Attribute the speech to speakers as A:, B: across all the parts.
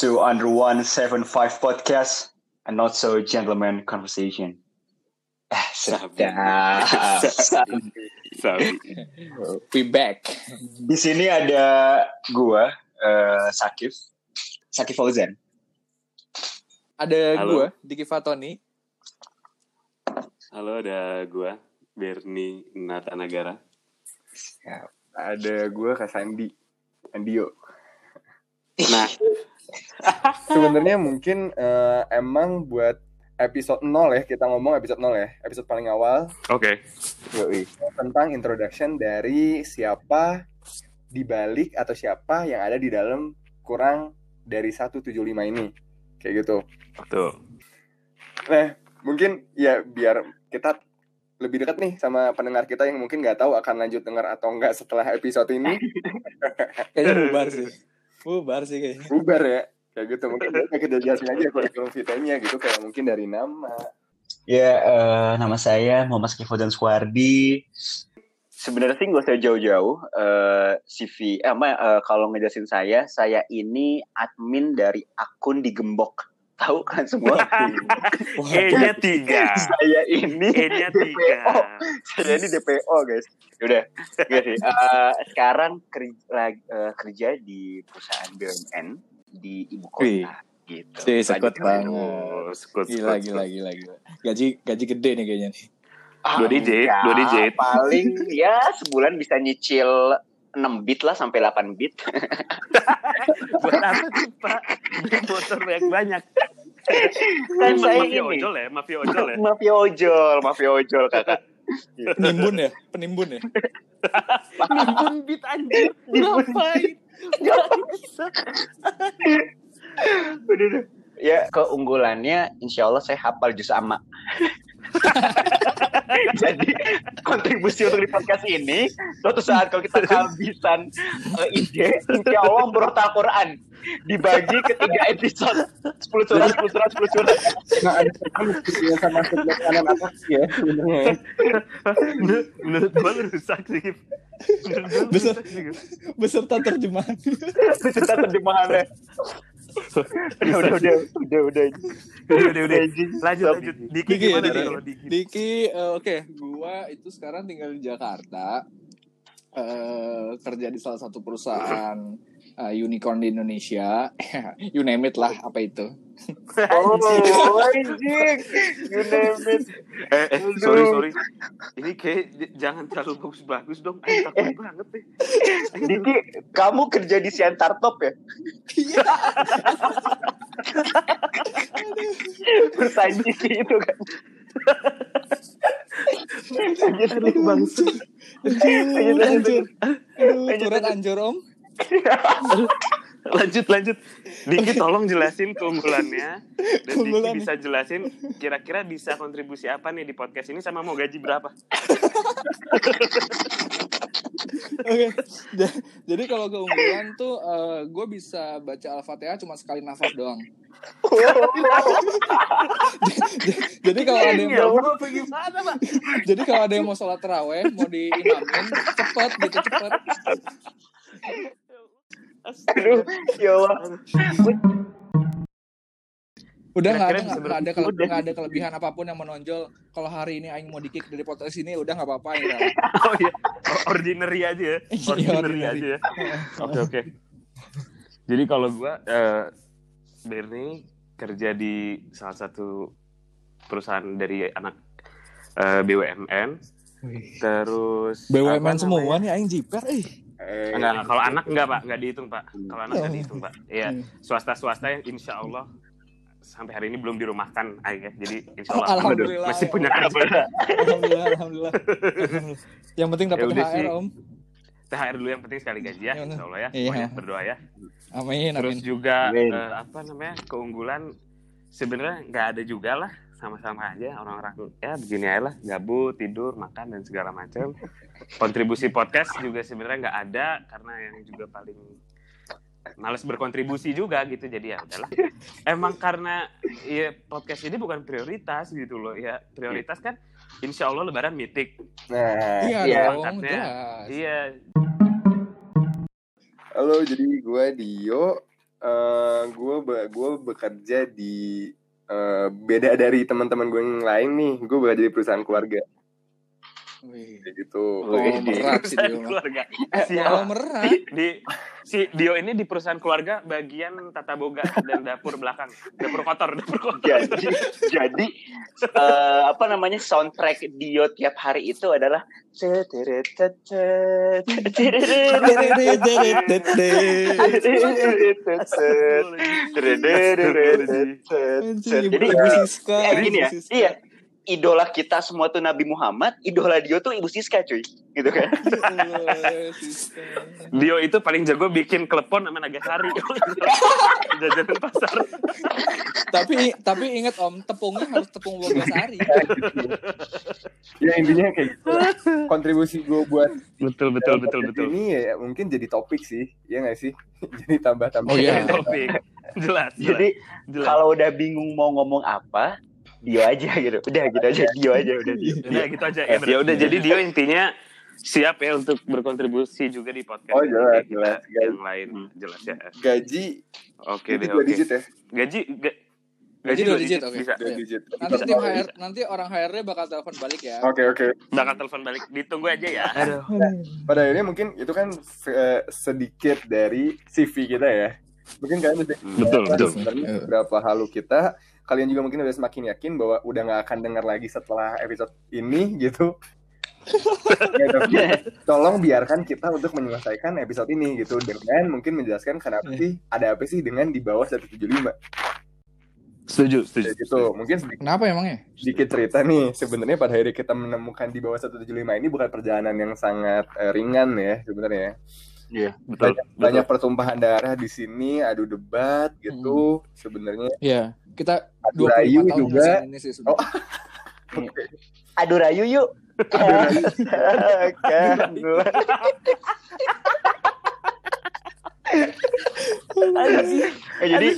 A: to Under 175 Podcast, and also Gentleman Conversation. Eh, sedap.
B: Sabi. Sabi.
C: We back.
A: Di sini ada gua, eh, Sakif. Sakif Fauzan.
C: Ada
B: Halo.
C: gue, Diki Fatoni.
B: Halo, ada gua Bernie Natanagara.
D: ada gue Kak Sandi Andio
B: Nah,
D: sebenarnya mungkin eh, emang buat episode 0 ya kita ngomong episode 0 ya episode paling awal
B: oke.
D: tentang introduction dari siapa di balik atau siapa yang ada di dalam kurang dari 175 ini kayak gitu
B: Betul.
D: nah mungkin ya biar kita lebih dekat nih sama pendengar kita yang mungkin nggak tahu akan lanjut dengar atau enggak setelah episode ini
C: Kayaknya bubar sih. Bubar sih kayaknya.
D: bubar ya kayak gitu mungkin kita kita jelasin aja kurikulum vitae-nya gitu kayak mungkin dari nama
A: Ya, eh, nama saya Muhammad Sakif Fauzan Suwardi. Sebenarnya sih nggak usah jauh-jauh. eh, CV, eh, apa, eh, kalau ngejelasin saya, saya ini admin dari akun digembok. Tahu kan semua?
C: Wah,
B: E-nya tiga.
A: saya ini
B: E-nya tiga.
A: saya ini DPO guys. Ya Udah, Nggak sih. Eh, sekarang kerja, lagi- eh, kerja di perusahaan BUMN di ibu kota
C: Wih.
A: gitu.
C: Sih, sekut
A: Lanjut,
C: banget.
B: Oh, skut,
C: Gila,
B: skut,
C: gila,
B: skut.
C: gila, gila. Gaji, gaji gede nih kayaknya nih.
A: Ah,
B: Dua digit,
A: enggak.
B: dua digit.
A: Paling ya sebulan bisa nyicil 6 bit lah sampai 8 bit.
B: Buat apa tuh, Pak? Beli motor banyak banyak.
A: Kan saya
B: mafia
A: ini.
B: ojol ya, mafia ojol ya.
A: Mafia ojol, mafia ojol kakak.
C: Penimbun ya? Penimbun ya?
B: Nimbun bit anjir. Ngapain?
A: Ya keunggulannya insya Allah saya hafal juz sama. Jadi kontribusi untuk di podcast ini suatu saat kalau kita kehabisan eh, ide, insya Allah berotal Quran dibagi ke tiga episode 10 surat, 10 surat, 10 surat.
D: nah ada diskusinya sama sebelah kanan atas ya sebenarnya ya.
B: Menurut- Menurut gua lu rusak sih. Gif. Menurut gua lu
C: Besar.
B: rusak sih, Gif.
C: Beserta terjemahan.
A: Cerita terjemahannya. Udah, udah, udah, udah, udah.
B: Udah, udah, udah. Lanjut, lanjut. Diki
C: Diki, ya,
B: gimana
C: Diki.
B: nih kalau Diki?
C: Diki, eh, oke, gua itu sekarang tinggal di Jakarta, eh kerja di salah satu perusahaan eh, unicorn di Indonesia, you name it lah, apa itu?
A: Oh, anjing. You name it.
B: Eh, eh, sorry, sorry. Ini kayak j- jangan terlalu bagus-bagus dong. Ayo,
D: Eh,
B: takut banget deh.
A: Diki, kamu kerja di Siantar Top ya?
C: Iya.
A: Bersaing di situ kan. Lanjut,
B: Aduh, bangsa.
C: Aduh,
A: Lanjut, lanjut.
C: anjur. Aduh,
A: Lanjut,
C: turun anjur, Om.
B: Lanjut, lanjut. Diki tolong jelasin keunggulannya. Dan Diki
C: Keunggulan.
B: bisa jelasin kira-kira bisa kontribusi apa nih di podcast ini sama mau gaji berapa.
C: Oke. Ja- Jadi kalau keunggulan tuh gue bisa baca Al-Fatihah cuma sekali nafas doang. Jadi kalau ada
A: Iya,
C: yang mau
B: apa gimana, Pak?
C: jadi kalau ada yang mau sholat teraweh, mau diimamin, cepet gitu cepet.
A: Aduh, ya Allah.
C: Udah nggak ada
B: Kira-kira bisa
C: nggak ada
B: berapa?
C: kele-
B: Udah.
C: nggak ada kelebihan apapun yang menonjol. Kalau hari ini Aing mau dikik dari podcast ini udah nggak apa-apa ya.
B: Oh iya, O- ordinary aja ya.
C: Iya,
B: Ordinary
C: ordinary.
B: aja ya. Oke, oke. Jadi kalau gua eh Bernie kerja di salah satu perusahaan dari anak eh, BUMN. Terus apa
C: BUMN
B: namanya?
C: semua nih Aing jiper. Eh.
D: Eh,
B: Enggak, enggak. Nah,
C: iya.
B: kalau anak enggak, Pak. Enggak dihitung, Pak.
C: Hmm.
B: Kalau anak enggak dihitung, Pak. Iya, swasta-swasta yang insya Allah sampai hari ini belum dirumahkan, Aing, ya. Jadi insya
C: Oh,
B: Allah
C: alhamdulillah,
B: masih
C: ya
B: punya
C: Allah.
B: kabar.
C: Alhamdulillah, alhamdulillah. Alhamdulillah. Yang penting dapat
B: Ya udah
C: THR
B: sih.
C: Om.
B: THR dulu yang penting sekali gaji ya,
C: Ya,
B: insya Allah ya.
C: Iya.
B: Pokoknya berdoa ya.
C: Amin,
B: Terus
C: amin.
B: juga
A: Amin.
B: eh, apa namanya keunggulan sebenarnya nggak ada juga lah sama-sama aja orang-orang ya begini aja lah gabut tidur makan dan segala macam kontribusi podcast juga sebenarnya nggak ada karena yang juga paling males berkontribusi juga gitu jadi ya udahlah emang karena ya podcast ini bukan prioritas gitu loh ya prioritas kan insya Allah lebaran mitik
D: nah
C: Iya
A: Iya,
C: dong,
B: angkatnya.
C: jelas.
B: iya
D: halo jadi gue Dio eh gue be- gue bekerja di eh, beda dari teman-teman gue yang lain nih. Gue bekerja di perusahaan keluarga
C: Wih.
D: kayak gitu.
C: Oh, merat sih
B: Perusahaan
C: dia mah.
B: keluarga.
C: Kalau
B: Siapa?
C: merah,
B: Di, di- si Dio ini di perusahaan keluarga bagian tata boga dan dapur belakang. Dapur kotor, dapur kotor.
A: jadi jadi eh, apa namanya soundtrack Dio tiap hari itu adalah
C: jadi
A: Jadi,
C: ibu Siska,
A: eh, gini ya,
C: Ibu Siska.
A: iya idola kita semua tuh Nabi Muhammad, idola Dio tuh Ibu Siska cuy, gitu kan?
C: Ya Allah, Siska.
B: Dio itu paling jago bikin klepon sama Nagasari. Jajanan pasar.
C: tapi tapi ingat Om, tepungnya harus tepung Wogasari.
D: Ya intinya kayak gitu. Kontribusi gue buat
B: Betul, betul, betul, betul.
D: ini ya mungkin jadi topik sih, ya nggak sih? jadi tambah-tambah.
C: Oh, iya.
B: Topik. Jelas, jelas.
A: Jadi
B: jelas.
A: kalau udah bingung mau ngomong apa, Dio aja gitu, udah gitu aja, Dio aja, udah Dio.
B: Udah gitu aja ya. Ya udah jadi Dio intinya siap ya untuk berkontribusi juga di podcast.
D: Oh, jelas,
B: Oke,
D: jelas,
B: kita
D: guys.
B: Yang lain jelas ya.
D: Gaji
B: Oke
D: itu
B: deh,
D: dua
B: oke.
D: digit ya,
B: Gaji ga-
C: Gaji dua digit, oke.
B: bisa.
D: dua
C: Iya.
D: digit.
C: Nanti
D: Bisa.
C: tim HR, nanti orang HR-nya bakal telepon balik ya.
D: Oke oke.
B: Bakal telepon balik. Ditunggu aja ya.
D: Pada akhirnya mungkin itu kan se- sedikit dari CV kita ya. Mungkin kalian udah
B: Hmm. Betul,
D: tahu
B: betul.
D: sebenarnya
C: Iya.
D: berapa halu kita. Kalian juga mungkin udah semakin yakin bahwa udah nggak akan dengar lagi setelah episode ini gitu. Ya, tapi tolong biarkan kita untuk menyelesaikan episode ini gitu dengan mungkin menjelaskan kenapa
C: Iya.
D: sih ada apa sih dengan di bawah 175
B: Setuju,
D: Ya,
B: setuju.
D: gitu mungkin sedikit
C: Kenapa emangnya?
D: sedikit cerita nih sebenarnya pada hari kita menemukan di bawah 175 ini bukan perjalanan yang sangat eh, ringan ya sebenarnya
B: Iya, betul.
D: banyak, banyak pertumpahan darah di sini adu debat
B: Hmm.
D: gitu sebenarnya
C: Iya, kita
D: adu
C: 25
D: rayu
C: tahun
D: juga
C: ngurusin ini sih sudah.
D: Oh.
A: Aduh rayu yuk. Kan gua. Eh, jadi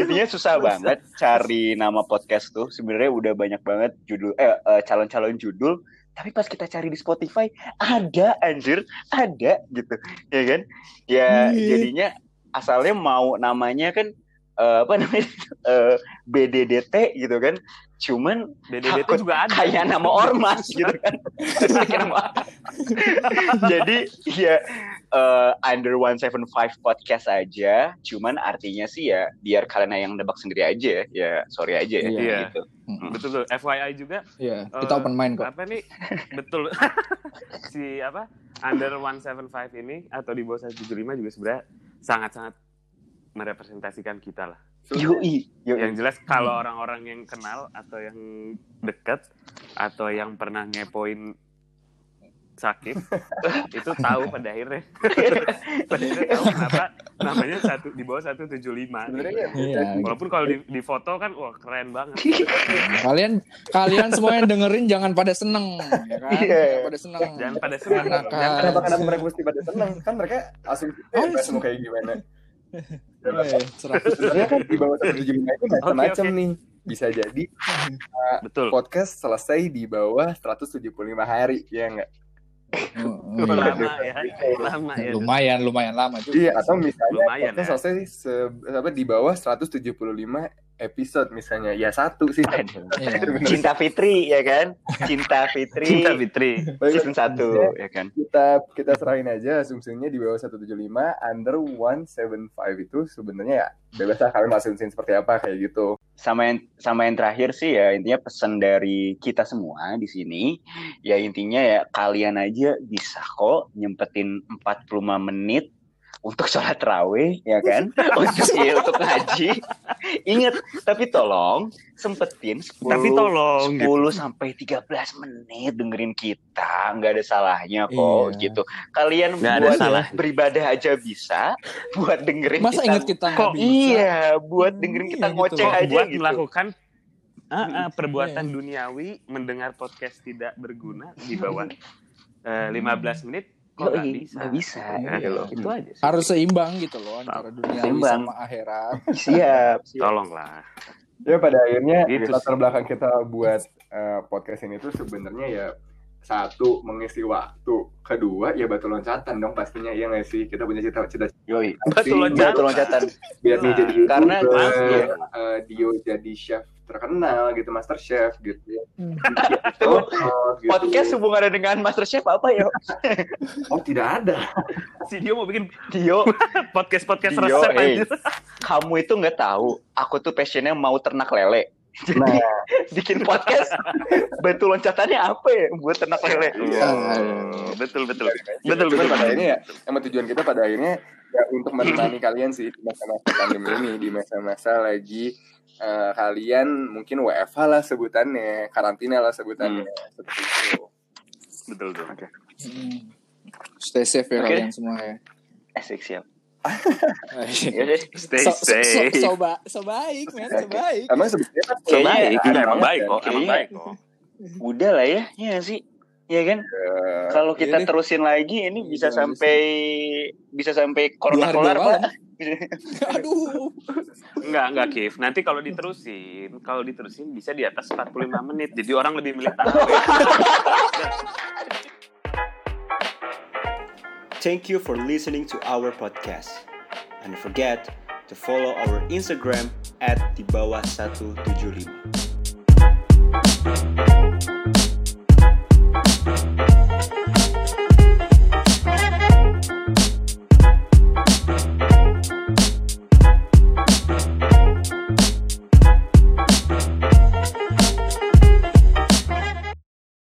A: intinya susah banget cari nama podcast tuh. Sebenarnya udah banyak banget judul eh eh, calon-calon judul, tapi pas kita cari di Spotify ada anjir, ada gitu. Ya kan? Ya
C: Iya.
A: jadinya asalnya mau namanya kan eh, apa namanya? eh, BDDT gitu kan. Cuman
B: BDDT
A: Takut
B: juga ada.
A: kayak nama ormas gitu kan Kayak nama- jadi ya eh, under 175 podcast aja cuman artinya sih ya biar kalian yang nebak sendiri aja ya sorry aja ya
B: Iya.
A: gitu
C: Mm.
B: Betul, betul. FYI juga
C: Iya,
B: Eh,
C: kita open mind kok.
B: apa nih betul si apa under 175 ini atau di bawah 175 juga sebenarnya sangat-sangat merepresentasikan kita lah. Iya.
A: yoi yoi
B: Yang jelas kalau orang-orang yang kenal atau yang deket atau yang pernah ngepoin sakit itu tahu pada akhirnya pada akhirnya tahu kenapa namanya satu di bawah 175.
D: sebenarnya
B: gitu.
D: ya,
C: Iya.
B: Walaupun kalau di, di foto kan wah keren banget.
C: Kalian kalian semua yang dengerin jangan pada seneng, ya kan?
A: Iya.
C: Jangan pada seneng.
B: Jangan pada senang.
C: Enak,
B: Jangan
C: kan?
B: pada
D: kenapa kenapa mereka mesti pada senang kan mereka asumsi
C: Oh,
B: iya.
D: bebas mau kayak gimana
C: Eh, cerah.
D: sebenarnya kan di bawah 175 itu macam-macam
B: Oke, oke.
D: nih bisa jadi
B: betul.
D: podcast selesai di bawah 175 hari ya enggak
C: Oh, oh, iya.
B: Lama ya. Lama ya.
C: Lumayan, lumayan lama juga.
D: Iya, atau misalnya
B: Lumayan,
D: podcast
B: ya.
D: selesai se- apa, di bawah 175 episode misalnya. Ya satu sih.
C: Iya.
A: cinta Fitri ya kan cinta Fitri
B: Cinta Fitri.
A: season 1 ya kan
D: Kita kita serahin aja asumsinya di bawah 175 under 175 itu sebenarnya ya bebas lah kalian mau asumsiin seperti apa kayak gitu.
A: sama yang sama yang terakhir sih ya intinya pesan dari kita semua di sini ya intinya ya kalian aja bisa kok nyempetin 45 menit untuk sholat terawih ya kan untuk iya, untuk ngaji ingat tapi tolong sempetin 10
B: Tapi tolong
A: 10
B: gitu.
A: sampai 13 menit dengerin kita nggak ada salahnya kok
C: Iya.
A: gitu kalian
B: Nggak ada
A: buat
B: salah.
A: beribadah aja bisa buat dengerin
C: Iya. Masa
A: kita
C: ingat kita nggak
B: Kok
C: bisa?
A: Iya, buat dengerin
C: Iya,
A: kita
C: gitu.
A: ngoceh
B: Kok
A: aja
B: buat
A: gitu.
B: melakukan ah, ah, perbuatan
C: Iya.
B: duniawi mendengar podcast tidak berguna di bawah eh, 15 menit kok
A: Yoi,
B: nggak bisa.
A: nggak bisa. Gitu
C: Iya.
B: Ya, lo. Itu aja sih.
C: Harus seimbang gitu loh antara
B: Iya.
C: dunia
A: Seimbang.
C: sama akhirat.
A: Siap. siap.
B: Tolonglah.
D: Ya pada akhirnya
B: Gitu
D: latar
B: sih.
D: belakang kita buat eh, podcast ini tuh sebenarnya ya satu mengisi waktu kedua ya batu loncatan dong pastinya iya nggak sih kita punya cita-cita
A: Yoi.
B: Batu loncatan.
A: Batu loncatan.
D: biar dia
B: Nah,
D: jadi
A: karena-
D: YouTuber,
A: iya.
D: eh, Iya. Dio jadi chef terkenal gitu master chef gitu ya
C: Hmm.
D: Oh, oh, gitu.
A: Podcast hubungannya dengan MasterChef apa ya?
D: oh tidak ada
B: Si Dio mau bikin
A: Dio,
B: podcast podcast
A: Dio,
B: resep
A: eh.
B: aja.
A: kamu itu nggak tahu. Aku tuh passionnya mau ternak lele. Jadi
D: Nah.
A: bikin podcast batu loncatannya apa ya buat ternak lele?
D: Iya.
B: Betul
D: betul
B: betul. Betul
D: betul
B: betul.
D: pada akhirnya ya emang tujuan kita pada akhirnya ya untuk menemani kalian sih di masa-masa pandemi ini di masa-masa lagi eh, kalian mungkin WFH lah sebutannya karantina lah sebutannya seperti itu
B: Betul betul.
C: Hmm. Stay safe ya
A: Oke.
C: kalian semua ya.
A: Asik Eh, siap. Iya sih.
B: Stay
C: so, so, so,
B: safe.
C: so, ba- so baik, men, so baik.
D: emang sebetulnya kan
A: Kayaknya-
D: sebenarnya ada
B: Enggak, emang
D: banget
B: baik
D: kan,
B: kok, emang
C: iya.
A: Kayaknya-
B: baik kok.
A: Udah lah ya, ya nggak sih. Iya kan?
D: eh,
A: Kalau kita
C: iya deh.
A: terusin lagi ini bisa
C: Iya,
A: sampai bisa sampai
C: Dua
A: corona
C: hari
A: kelar
C: dua
A: Pak.
C: malam. Aduh.
B: Enggak, enggak Kif. Nanti kalau diterusin, kalau diterusin bisa di atas 45 menit. Jadi orang lebih milih tahu.
E: Thank you for listening to our podcast. And don't forget to follow our Instagram at di bawah 175.